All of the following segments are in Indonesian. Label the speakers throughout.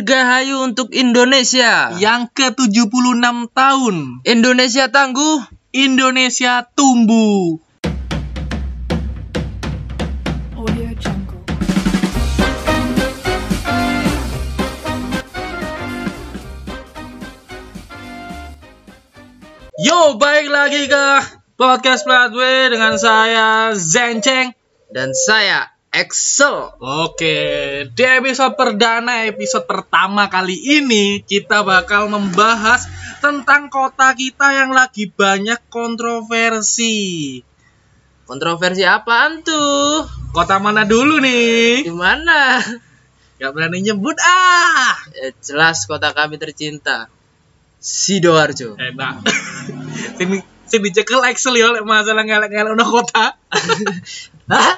Speaker 1: Dirgahayu untuk Indonesia.
Speaker 2: Yang ke-76 tahun,
Speaker 1: Indonesia tangguh.
Speaker 2: Indonesia tumbuh.
Speaker 3: Audio Jungle.
Speaker 2: Yo, baik lagi ke Podcast Flatway dengan saya Zenceng.
Speaker 1: Dan saya Excel.
Speaker 2: Oke, di episode perdana, episode pertama kali ini kita bakal membahas tentang kota kita yang lagi banyak kontroversi.
Speaker 1: Kontroversi apaan tuh?
Speaker 2: Kota mana dulu nih?
Speaker 1: Gimana?
Speaker 2: Gak berani nyebut ah.
Speaker 1: Eh, jelas kota kami tercinta. Sidoarjo.
Speaker 2: Enak. sini sini cekel Excel ya oleh masalah ngelak-ngelak no kota.
Speaker 1: Hah?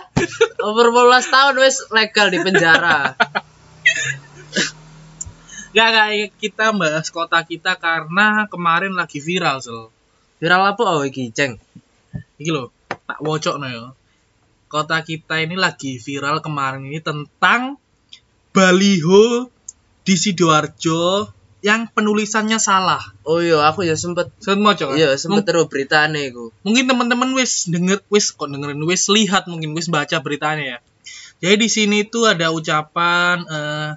Speaker 1: Over 15 tahun wes legal di penjara.
Speaker 2: Gak, gak, kita bahas kota kita karena kemarin lagi viral, Sel.
Speaker 1: Viral apa oh iki, Ceng?
Speaker 2: Iki loh, tak wocok no ya. Kota kita ini lagi viral kemarin ini tentang baliho di Sidoarjo yang penulisannya salah.
Speaker 1: Oh iya, aku ya sempet
Speaker 2: Sempet mocok kan?
Speaker 1: iya sempet
Speaker 2: Mung-
Speaker 1: terus beritane iku.
Speaker 2: mungkin teman-teman wis denger wis kok dengerin wis lihat mungkin wis baca beritanya ya. Jadi di sini tuh ada ucapan eh,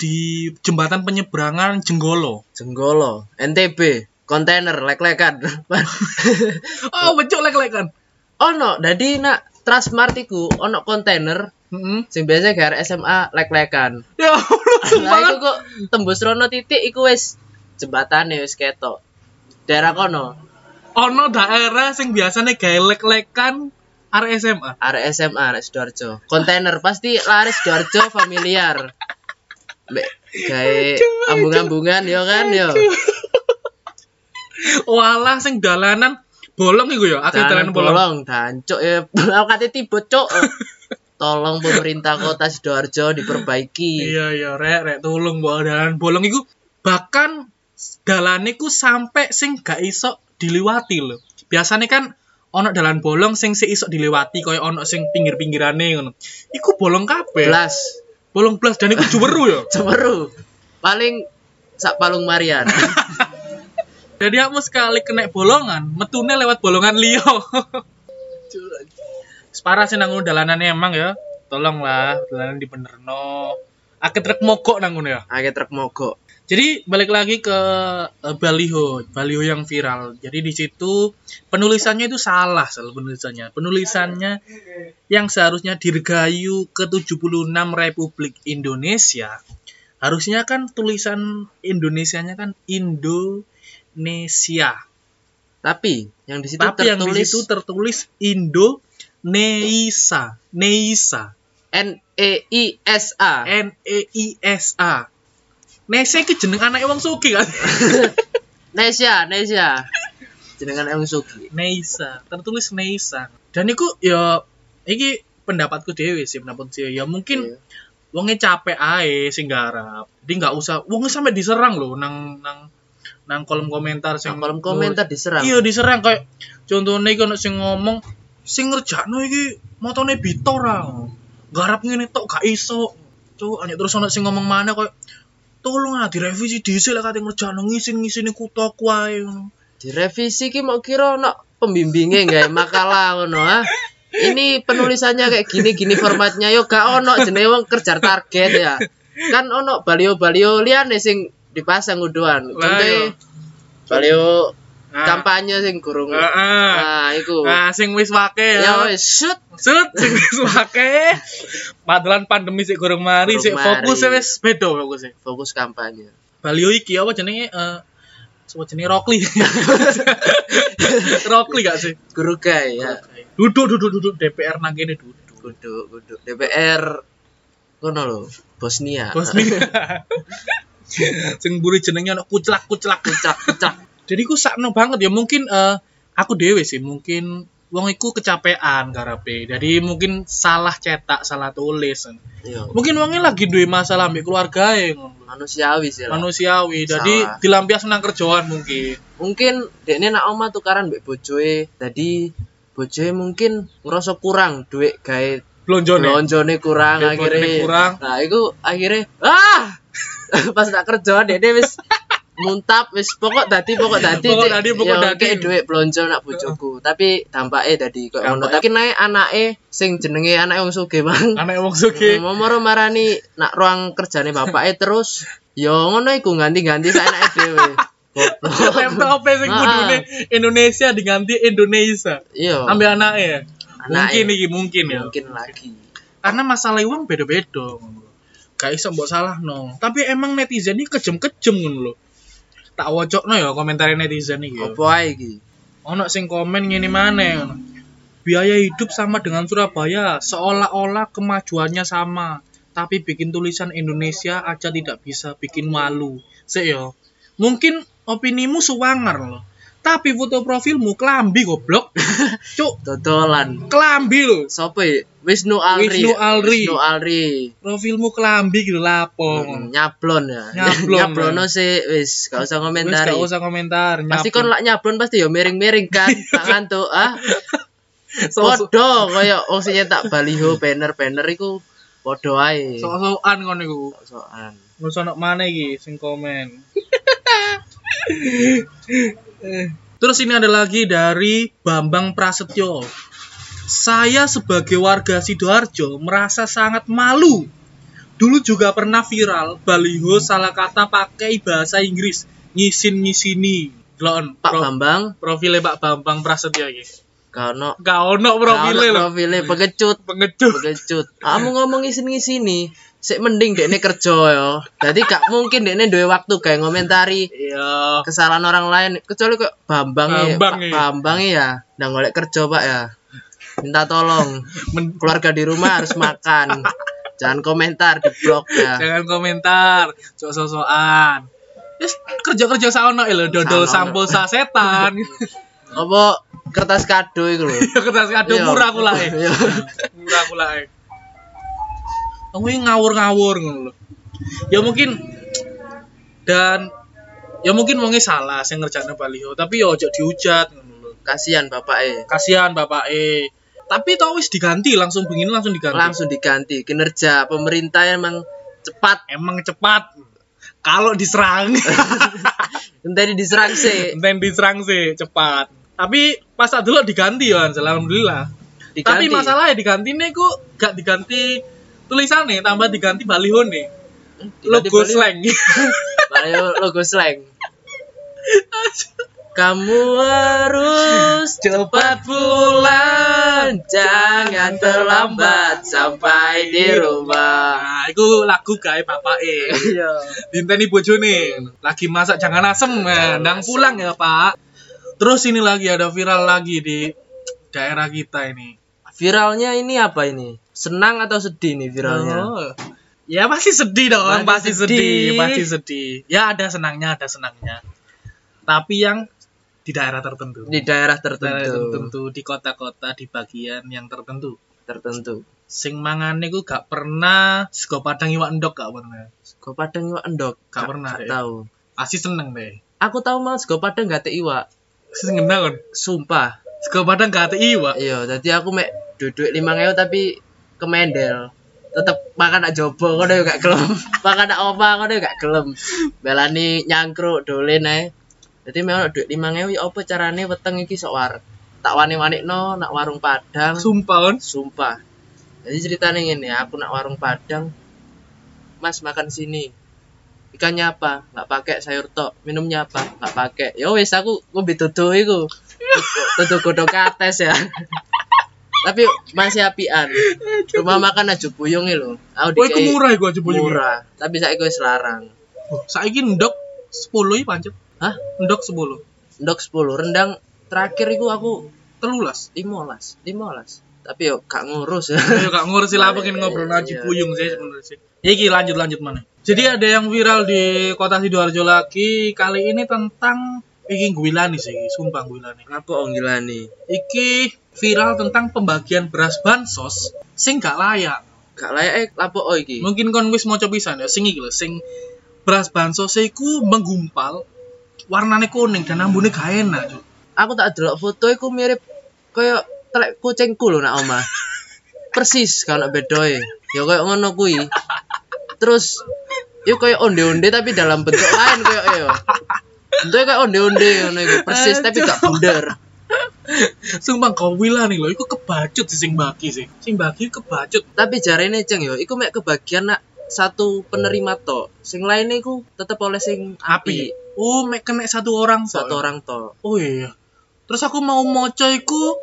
Speaker 2: di jembatan penyeberangan Jenggolo.
Speaker 1: Jenggolo, NTB, kontainer lek-lekan.
Speaker 2: Oh, becok lek-lekan.
Speaker 1: ono, dadi nak Transmart iku ono kontainer
Speaker 2: Heeh.
Speaker 1: sing biasa GR SMA lek-lekan.
Speaker 2: Hmm? Ya Allah,
Speaker 1: Lah
Speaker 2: sumpah.
Speaker 1: Nah, iku kok tembus rono titik iku wis jembatane wis ketok. Daerah kono,
Speaker 2: ono daerah sing biasanya gelek lekan arek SMA.
Speaker 1: arek SMA, arek Sidoarjo. Kontainer pasti laris Sidoarjo familiar. Mbek gawe ambung-ambungan yo kan yo.
Speaker 2: Walah sing dalanan bolong iku ya, akeh
Speaker 1: Jalan
Speaker 2: dalanan bolong.
Speaker 1: bolong, dancuk ya. Aku kate tiba cuk. Tolong pemerintah kota Sidoarjo diperbaiki.
Speaker 2: Iya iya rek rek tulung bawa dalanan bolong iku bahkan dalane ku sampai sing gak iso diliwati lho. Biasanya kan ono dalan bolong sing sik iso diliwati koyo ono sing pinggir-pinggirane ngono. Iku bolong kabeh.
Speaker 1: Belas
Speaker 2: Bolong blas dan iku juweru ya.
Speaker 1: Cemeru. Paling sak palung Marian.
Speaker 2: Jadi aku sekali kena bolongan, metune lewat bolongan liyo. Separah sih nanggung dalanannya emang ya. Tolonglah, dalanan dibenerno. Aku truk mogok nanggung ya.
Speaker 1: Akeh truk mogok.
Speaker 2: Jadi balik lagi ke eh, baliho, baliho yang viral. Jadi di situ penulisannya itu salah Sel, penulisannya. Penulisannya yang seharusnya dirgayu ke-76 Republik Indonesia. Harusnya kan tulisan Indonesianya kan Indonesia.
Speaker 1: Tapi yang di situ
Speaker 2: Tapi yang di
Speaker 1: tertulis
Speaker 2: situ tertulis Indonesia, Neisa,
Speaker 1: N E I S A.
Speaker 2: N E I S A. Nese iki jeneng anake wong sugih kan.
Speaker 1: Nesia, Nesia. Jenengan Eng Sugi.
Speaker 2: Neisa, tertulis Neisa. Dan iku ya iki pendapatku dewe sih pendapat sih. Ya mungkin wonge capek ae sing garap. Jadi nggak usah wonge sampai diserang loh nang nang nang kolom komentar sing
Speaker 1: Nang kolom komentar diserang.
Speaker 2: Iya diserang kayak contohnya iku ono sing ngomong sing ngerjakno iki motone Bitor ah. Garap ngene tok gak iso. Cuk, anjir terus ono sing ngomong mana kayak tolong ah direvisi dhisik lah kate ngerjakno ngisin-ngisini kuthaku ae
Speaker 1: Ah.
Speaker 2: ngono.
Speaker 1: Direvisi ki mau kira ono pembimbingnya nggak ya? makalah ngono ah. Ini penulisannya kayak gini gini formatnya yo gak ono jenenge wong kerja target ya. Kan ono balio-balio liyane sing dipasang uduan.
Speaker 2: Lah, iya.
Speaker 1: Contohnya balio
Speaker 2: Ah.
Speaker 1: kampanye sing gurung.
Speaker 2: Ah, ah.
Speaker 1: Nah, iku.
Speaker 2: Nah, sing wis wake
Speaker 1: Ya
Speaker 2: ya.
Speaker 1: wis shoot.
Speaker 2: Sut, sing wis wake. Padahal pandemi sik gorong
Speaker 1: Gorong
Speaker 2: mari, sik fokus
Speaker 1: mari.
Speaker 2: wis beda fokusnya.
Speaker 1: Fokus kampanye.
Speaker 2: Balio iki apa jenenge eh apa jenenge Rokli. Rokli gak sih?
Speaker 1: Guru gay ya.
Speaker 2: Duduk duduk duduk DPR nang kene duduk.
Speaker 1: Kudu kudu DPR ngono lho, Bosnia.
Speaker 2: Bos nih. sing buri jenenge ono kuclak-kuclak.
Speaker 1: Kucak kucak.
Speaker 2: Jadi ku sakno banget ya mungkin eh, aku dewe sih mungkin wong iku kecapean karepe. Jadi mungkin salah cetak, salah tulis.
Speaker 1: Yo.
Speaker 2: mungkin wongnya lagi duwe masalah ambek keluarga
Speaker 1: Manusiawi sih lah.
Speaker 2: manusiawi jadi
Speaker 1: Iya. Salah.
Speaker 2: dilampias nang kerjaan mungkin
Speaker 1: mungkin dekne nak oma tukaran mbek bojoe dadi bojoe mungkin ngerasa kurang duit gawe
Speaker 2: blonjone
Speaker 1: lonjone kurang
Speaker 2: Duit lonjone
Speaker 1: akhirnya
Speaker 2: kurang.
Speaker 1: nah iku akhirnya ah pas tak kerja dene wis muntap wis pokok dadi pokok dadi
Speaker 2: Pokok
Speaker 1: Cik.
Speaker 2: dadi, pokok
Speaker 1: Ya,
Speaker 2: dadi.
Speaker 1: kei duit blonjo nak bojoku tapi dampaknya dadi kok ngono
Speaker 2: Dampaknya-
Speaker 1: tapi naik anake sing jenenge anake wong sugih bang
Speaker 2: anak wong suki
Speaker 1: Momoro marani nak ruang kerjane bapake terus ya ngono iku ganti-ganti saenake dhewe. Goblok.
Speaker 2: laptop sing
Speaker 1: Ah.
Speaker 2: kudune Indonesia diganti Indonesia
Speaker 1: Iya.
Speaker 2: ambil anaknya ya
Speaker 1: Anaknya.
Speaker 2: mungkin iki mungkin ya
Speaker 1: Mungkin lagi.
Speaker 2: karena masalah uang beda-beda gak iso mbok salah no tapi emang netizen ini kejem-kejem ngono lho tak wocokno ya komentar netizen iki ya.
Speaker 1: Opo ae iki?
Speaker 2: ono sing komen ngene maneh ngono. biaya hidup sama dengan Surabaya seolah-olah kemajuannya sama tapi bikin tulisan Indonesia aja tidak bisa bikin malu Sik yo mungkin opinimu suwanger loh tapi foto profilmu kelambi goblok cuk
Speaker 1: Dodolan.
Speaker 2: kelambi loh
Speaker 1: Sopo ya? Wisnu Alri.
Speaker 2: Wisnu Alri.
Speaker 1: Wisnu Alri.
Speaker 2: profilmu kelambi gitu lapo
Speaker 1: Hmm, Nyablon ya.
Speaker 2: Nyablon,
Speaker 1: Nyablono
Speaker 2: ya.
Speaker 1: sih wis gak usah
Speaker 2: Wes
Speaker 1: komentari.
Speaker 2: gak usah komentar.
Speaker 1: Pasti
Speaker 2: nyapu.
Speaker 1: kon lak nyablon pasti ya miring-miring kan tangan tuh ah.
Speaker 2: So-
Speaker 1: Podo koyo wong sing nyetak baliho banner-banner iku podo ae.
Speaker 2: sok-sokan kon iku.
Speaker 1: Sok-sokan.
Speaker 2: Wes ono mana iki sing komen. Eh, Terus ini ada lagi dari Bambang Prasetyo. Saya sebagai warga Sidoarjo merasa sangat malu. Dulu juga pernah viral baliho salah kata pakai bahasa Inggris, ngisin-ngisini. Delon,
Speaker 1: Pak
Speaker 2: pro-
Speaker 1: Bambang
Speaker 2: profile Pak Bambang Prasetyo iki.
Speaker 1: gak ono
Speaker 2: Gak ono profile
Speaker 1: Kalau
Speaker 2: lho.
Speaker 1: profile pengecut,
Speaker 2: Pengecut.
Speaker 1: pengecut. Kamu ngomong isin ngisini, sik mending dekne kerja ya. Jadi gak mungkin dekne duwe waktu kayak ngomentari
Speaker 2: Iya.
Speaker 1: kesalahan orang lain kecuali kok Bambang ya,
Speaker 2: Bambang
Speaker 1: Pak
Speaker 2: ya.
Speaker 1: Bambang ya, ndak golek kerja Pak ya. Minta tolong,
Speaker 2: Men-
Speaker 1: keluarga di rumah harus makan. Jangan komentar di blog ya.
Speaker 2: jangan komentar sok-sokan Yes, kerja-kerja saono eh, lho dodol
Speaker 1: Saono.
Speaker 2: sampul sasetan
Speaker 1: Apa kertas kado itu lho.
Speaker 2: Ya, kertas kado
Speaker 1: Iya.
Speaker 2: murah kula e
Speaker 1: Iya.
Speaker 2: murah kula e aku ini ngawur-ngawur ngono lho ya mungkin dan ya mungkin wonge salah sing ngerjakno baliho tapi ya ojo diujat ngono lho
Speaker 1: Kasihan eh. bapaknya
Speaker 2: kasihan bapake tapi tau wis diganti langsung begini langsung diganti
Speaker 1: Langsung diganti kinerja pemerintah emang cepat.
Speaker 2: emang cepat kalau diserang
Speaker 1: Entah diserang sih.
Speaker 2: Enten diserang sih cepat. Tapi pas tak dulu diganti ya Ansel, alhamdulillah.
Speaker 1: Diganti.
Speaker 2: Tapi masalahnya diganti nih ku gak diganti tulisan nih, tambah diganti baliho nih.
Speaker 1: Diganti
Speaker 2: Logo
Speaker 1: baliho.
Speaker 2: slang.
Speaker 1: Mario logo slang. Kamu harus
Speaker 2: Cepat
Speaker 1: pulang, jangan terlambat sampai di rumah.
Speaker 2: Nah, itu lagu gawe bapake.
Speaker 1: Iya.
Speaker 2: Dinteni bojone lagi masak jangan asem, eh,
Speaker 1: Jangan
Speaker 2: ndang
Speaker 1: asem.
Speaker 2: pulang ya, Pak. Terus ini lagi ada viral lagi di daerah kita ini.
Speaker 1: Viralnya ini apa ini? Senang atau sedih nih viralnya?
Speaker 2: Oh. Ya pasti sedih
Speaker 1: Pasti
Speaker 2: dong, pasti,
Speaker 1: sedih.
Speaker 2: sedih. pasti sedih. Ya ada senangnya, ada senangnya. Tapi yang di daerah tertentu.
Speaker 1: Di daerah
Speaker 2: daerah
Speaker 1: tertentu.
Speaker 2: tertentu, di kota-kota, di bagian yang tertentu.
Speaker 1: Tertentu.
Speaker 2: Sing mangane ku gak pernah sego padang iwak endok gak pernah.
Speaker 1: Sego Padang iwak endok.
Speaker 2: Gak pernah,
Speaker 1: Gak
Speaker 2: ya.
Speaker 1: tahu.
Speaker 2: Pasti seneng deh.
Speaker 1: Aku tahu mau sego Padang gak ada iwak.
Speaker 2: Sing kenal kan?
Speaker 1: Sumpah.
Speaker 2: Sego padang gak ada iwak.
Speaker 1: Iya, jadi aku mek duduk lima ngewu tapi kemendel. Tetep makan nak jobo ngono ya gak gelem. makan nak oma ngono ya gak gelem. Belani nyangkruk dolen ae. Jadi mek ono duit lima ngewu ya apa carane weteng iki sok war. Tak wani-wanikno nak warung Padang.
Speaker 2: Sumpah kan?
Speaker 1: Sumpah. Jadi ceritanya gini, aku nak warung Padang. Mas makan sini. Ikannya apa? Nggak pakai sayur tok. Minumnya apa? Nggak pakai. Ya wis aku ngombe dodo iku. Dodo godok kates ya. Tapi masih apian. Rumah makan aja buyung e lho. Aku
Speaker 2: Oh, iku
Speaker 1: dikei
Speaker 2: murah iku aja
Speaker 1: Iya.
Speaker 2: boyo.
Speaker 1: murah. Tapi saiki wis larang.
Speaker 2: Oh, Saiki endok 10 iki pancet.
Speaker 1: Hah?
Speaker 2: Endok 10.
Speaker 1: Ndok 10 rendang terakhir iku aku
Speaker 2: Telulas.
Speaker 1: 15, 15. Tapi yo gak ngurus ya.
Speaker 2: Ayo kak ngurusin lah pengen ngobrol Haji
Speaker 1: Iya,
Speaker 2: Buyung sih sebenarnya sih. Iki lanjut lanjut mana? Jadi ada yang viral di kota sidoarjo lagi kali ini tentang iki Guilani sih, sumpah Guilani.
Speaker 1: Apa onggilani?
Speaker 2: Iki viral tentang pembagian beras bansos sing gak layak.
Speaker 1: Gak layak eh lapo oh iki.
Speaker 2: Mungkin kon wis mau pisan ya sing iki lho, sing beras bansos iku menggumpal warnane kuning dan ambune gak enak. Cuk.
Speaker 1: aku tak delok foto iku mirip koyo telek kucingku lho nak oma. Persis kalau bedoe. Ya koyo ngono kuwi. Terus Iku kayak onde-onde tapi dalam bentuk lain kayak yo. Bentuknya kayak onde-onde ngono iku, persis tapi gak bundar.
Speaker 2: Sumpah kau bilang nih lo, iku kebacut sih sing baki sih. Sing baki kebacut.
Speaker 1: Tapi jarene ceng yo, iku mek kebagian nak satu penerima to. Sing lainnya iku tetep oleh sing
Speaker 2: Api.
Speaker 1: api,
Speaker 2: Oh, mek kena satu orang tok.
Speaker 1: Iya. satu orang to.
Speaker 2: Oh iya. Terus aku mau moco iku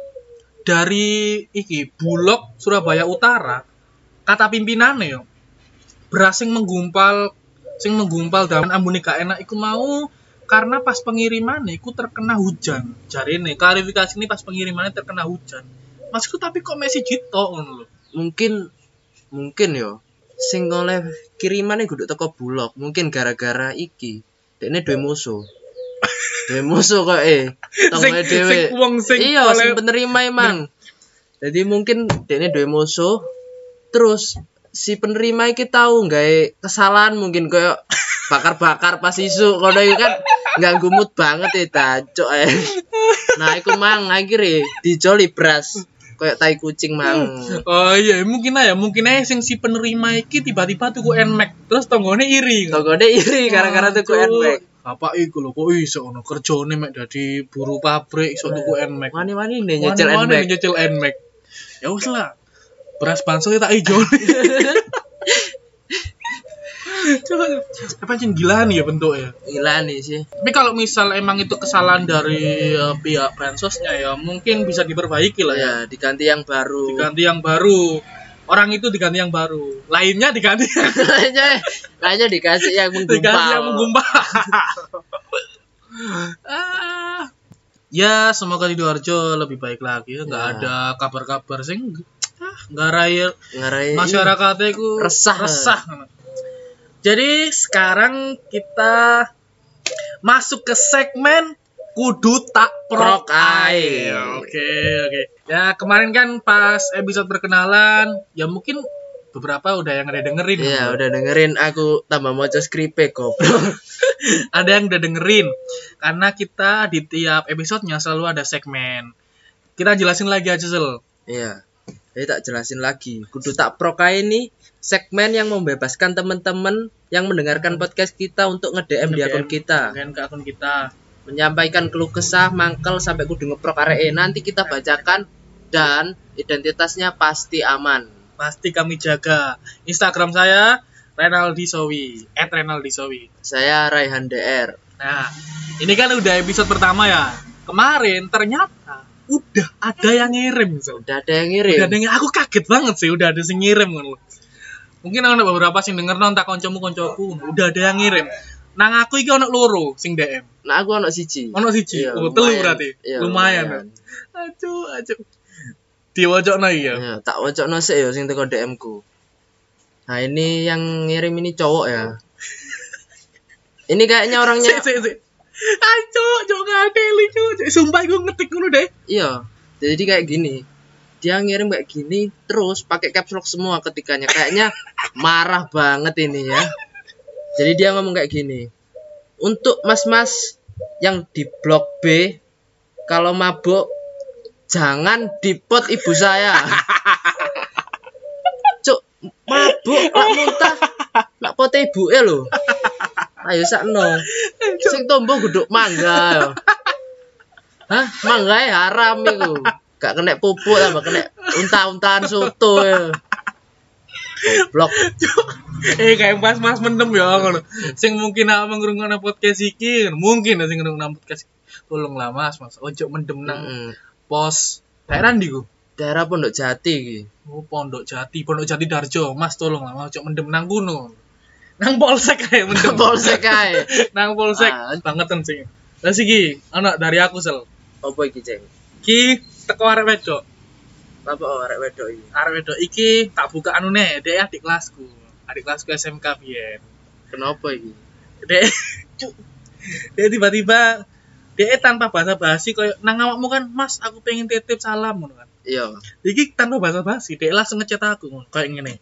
Speaker 2: dari iki Bulog Surabaya Utara. Kata pimpinannya yo. Beras sing menggumpal sing menggumpal dalam ambune gak enak iku mau karena pas pengiriman iku terkena hujan. Jarene klarifikasi ini pas pengirimannya terkena hujan. Maksudku tapi kok masih jito ngono lho.
Speaker 1: Mungkin mungkin yo sing oleh kirimane kudu teko bulog, mungkin gara-gara iki. Dekne duwe musuh. duwe musuh kok eh. Tonggo dhewe.
Speaker 2: sing wong sing
Speaker 1: iya
Speaker 2: oleh-
Speaker 1: sing penerima emang jadi mungkin dene duwe musuh terus si penerima iki tahu nggak kesalahan mungkin kayak bakar-bakar pas isu kalau itu kan nggak gumut banget ya tacok eh nah iku mang akhirnya dijoli beras kayak tai kucing mang
Speaker 2: Oh iya, mungkin aja, mungkin aja sing si penerima iki tiba-tiba tuku NMAX, terus tonggone iri.
Speaker 1: togone iri iya, gara-gara tuku
Speaker 2: Waduh.
Speaker 1: enwek
Speaker 2: Bapak iku lho kok iso ono kerjane mek dadi buruh pabrik iso tuku NMAX.
Speaker 1: wani-wani nih nyecil
Speaker 2: Mana-mana
Speaker 1: enwek
Speaker 2: nyicil NMAX. Ya wis lah. Beras pansos tak ijo. Coba apa sih gila nih ya bentuknya.
Speaker 1: gila nih sih
Speaker 2: Tapi kalau misal emang itu kesalahan dari eh, pihak bansosnya ya mungkin bisa diperbaiki lah ya.
Speaker 1: ya diganti yang baru
Speaker 2: Diganti yang baru. Orang itu diganti yang baru. Lainnya diganti
Speaker 1: Kayaknya- kayaknya dikasih yang menggumpal
Speaker 2: Dikasih yang menggumpal. Ah. ya semoga sidoarjo lebih baik lagi ya nggak
Speaker 1: Ya.
Speaker 2: ada kabar-kabar sing ah nggak raya
Speaker 1: Ngarai-
Speaker 2: masyarakatnya
Speaker 1: Eh,
Speaker 2: ku
Speaker 1: Resah.
Speaker 2: resah jadi sekarang kita masuk ke segmen kudu tak
Speaker 1: Prok
Speaker 2: prok
Speaker 1: ae.
Speaker 2: oke oke ya kemarin kan pas episode perkenalan ya mungkin beberapa udah yang ada dengerin
Speaker 1: Iya, udah dengerin aku tambah mojo skripe goblok.
Speaker 2: ada yang udah dengerin karena kita di tiap episodenya selalu ada segmen kita jelasin lagi aja sel
Speaker 1: Iya. Jadi tak jelasin lagi. Kudu tak proka ini segmen yang membebaskan teman-teman yang mendengarkan podcast kita untuk nge-DM di akun kita.
Speaker 2: Mungkin ke akun kita
Speaker 1: Menyampaikan keluh kesah, mangkel sampai kudu ngeprok aree. Nanti kita bacakan dan identitasnya pasti aman.
Speaker 2: pasti kami jaga Instagram saya Renaldi Sowi at Renaldi Sowi
Speaker 1: Saya Raihan DR.
Speaker 2: nah ini kan udah episode pertama ya kemarin ternyata udah ada yang ngirim Sel.
Speaker 1: Udah ada yang
Speaker 2: udah ada
Speaker 1: ngirim.
Speaker 2: yang- aku kaget banget sih udah ada yang ngirim ngono. mungkin ada beberapa sing denger nontak koncomu koncoku udah ada yang ngirim nang aku iki ono loro sing DM
Speaker 1: Nah, aku ono siji.
Speaker 2: Ono siji.
Speaker 1: Iya,
Speaker 2: Oh, telu
Speaker 1: lumayan.
Speaker 2: berarti.
Speaker 1: Iya,
Speaker 2: Lumayan. Aduh, aduh. Diwocokno iya.
Speaker 1: Iya, tak wocokno sik ya sing teko DM ku. Nah, ini yang ngirim ini cowok ya. ini kayaknya orangnya
Speaker 2: Sik sik sik. Aduh, jok ngadeli cuk. Cuk, Sumpah gue ngetik dulu deh.
Speaker 1: iya. Jadi kayak gini. Dia ngirim kayak gini terus pakai caps lock semua ketikanya. Kayaknya marah banget ini ya. Jadi dia ngomong kayak gini. Untuk mas-mas yang di blok B kalau mabuk jangan dipot ibu saya. Cuk, mabuk lak muntah lak pote ibuke lho. Ayo sakno. Sing tombo guduk mangga. yo. Hah, manggae haram iku. Gak kena pupuk tambah kena unta-untaan soto ya. Blok.
Speaker 2: Cuk. Eh kayak mas-mas mendem ya ngono. Sing mungkin awak ngrungokno podcast iki, mungkin sing ngrungokno podcast. iki. Tolonglah Mas, Mas. Ojo mendem Oh, nang
Speaker 1: Mm.
Speaker 2: pos daerah ndi ku?
Speaker 1: Daerah Pondok Jati iki.
Speaker 2: Oh, Pondok Jati, Pondok Jati Darjo. Mas tolonglah, Mas. Ojo mendem nang kuno. Nang polsek kayak mendem.
Speaker 1: Polsek ae.
Speaker 2: nang polsek
Speaker 1: Ah.
Speaker 2: bangetan sih terus iki ana dari aku sel
Speaker 1: Apa iki, Ceng?
Speaker 2: ki teko arek wedok
Speaker 1: Apa arek wedok iki?
Speaker 2: arek wedok iki tak buka anu nih dia adik kelasku adik kelasku SMK biyen
Speaker 1: Kenapa iki?
Speaker 2: dia Cuk. dia tiba-tiba dia tanpa bahasa basi kayak nang awakmu kan mas aku pengen titip salam ngono kan
Speaker 1: Iya.
Speaker 2: iki tanpa bahasa basi dia langsung ngechat aku ngono, kayak ngene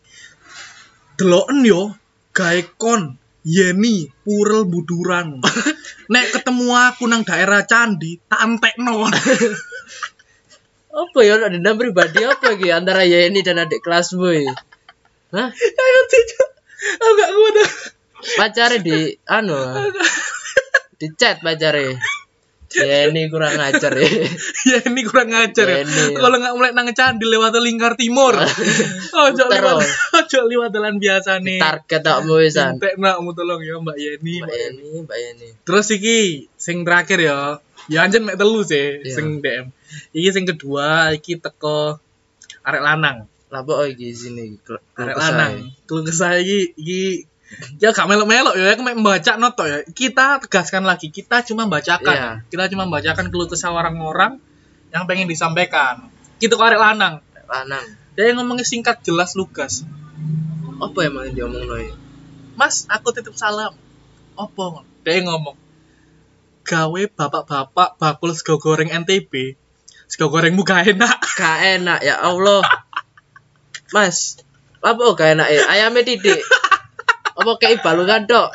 Speaker 2: deloken yo gaekon Yeni Purel Buduran nek ketemu aku nang daerah candi tak entekno
Speaker 1: Apa ya dendam pribadi apa iki antara Yeni dan adik kelas boy? Hah?
Speaker 2: Ayo cucu. Aku gak kuat.
Speaker 1: pacare di anu di chat pacare ya ini kurang ajar ya
Speaker 2: ya ini kurang ngajar ya.
Speaker 1: Ini.
Speaker 2: Kalau nggak mulai nang candi lewat lingkar timur. ojo
Speaker 1: Puter,
Speaker 2: lewat
Speaker 1: oh.
Speaker 2: ojo lewat dalan biasa nih.
Speaker 1: target tak mau wisan
Speaker 2: Entekno mu tolong ya Mbak Yeni.
Speaker 1: mbak Yeni mbak Yeni
Speaker 2: Terus iki sing terakhir ya. Ya anjen mek telu sih
Speaker 1: Iya.
Speaker 2: sing DM. Iki sing kedua iki teko arek lanang.
Speaker 1: lapo oh iki sini kel-
Speaker 2: Arek
Speaker 1: kesah.
Speaker 2: lanang. Keluh kesah iki iki ya gak melok-melok ya aku mek membaca noto ya. Kita tegaskan lagi kita cuma membacakan.
Speaker 1: Iya.
Speaker 2: Kita cuma membacakan keluh kesah orang-orang yang pengen disampaikan. Kita ke arek lanang.
Speaker 1: lanang
Speaker 2: Dia yang ngomongnya singkat jelas lugas.
Speaker 1: apa emang yang diomong ya?
Speaker 2: Mas, aku titip salam. Opo? Dia ngomong. Gawe bapak-bapak bakul sego goreng NTB. Sego gorengmu gak enak.
Speaker 1: gak enak ya Allah mas lapo gak enak ya ayamnya titik apa kayak balungan dok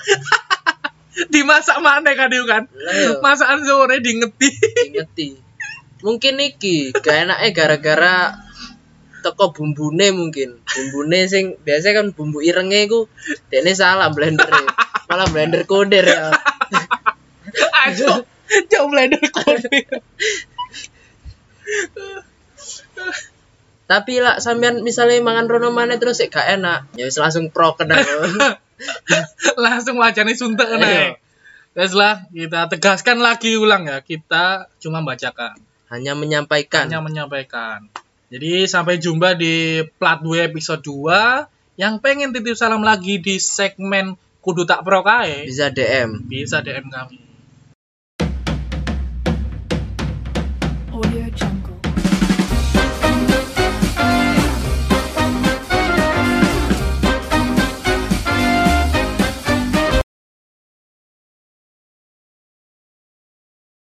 Speaker 2: Dimasak mana kan itu kan?
Speaker 1: Lah, iya.
Speaker 2: Masakan sore diingeti.
Speaker 1: ngerti mungkin iki gak enaknya gara-gara teko bumbune mungkin bumbune sing biasa kan bumbu irenge ku dene salah blender e. malah blender koder ya
Speaker 2: Ayo, jauh blender kode.
Speaker 1: tapi lah sampean misalnya mangan rono mana terus sik gak enak ya wis langsung pro kena
Speaker 2: Langsung wajahnya suntuk
Speaker 1: Iya.
Speaker 2: naik. Terus lah, kita tegaskan lagi ulang ya. Kita cuma bacakan.
Speaker 1: hanya menyampaikan
Speaker 2: hanya menyampaikan. Jadi sampai jumpa di Plat 2 episode 2 yang pengen titip salam lagi di segmen Kudu Tak Pro Kae
Speaker 1: bisa DM
Speaker 2: bisa DM kami.
Speaker 3: Audio Jungle.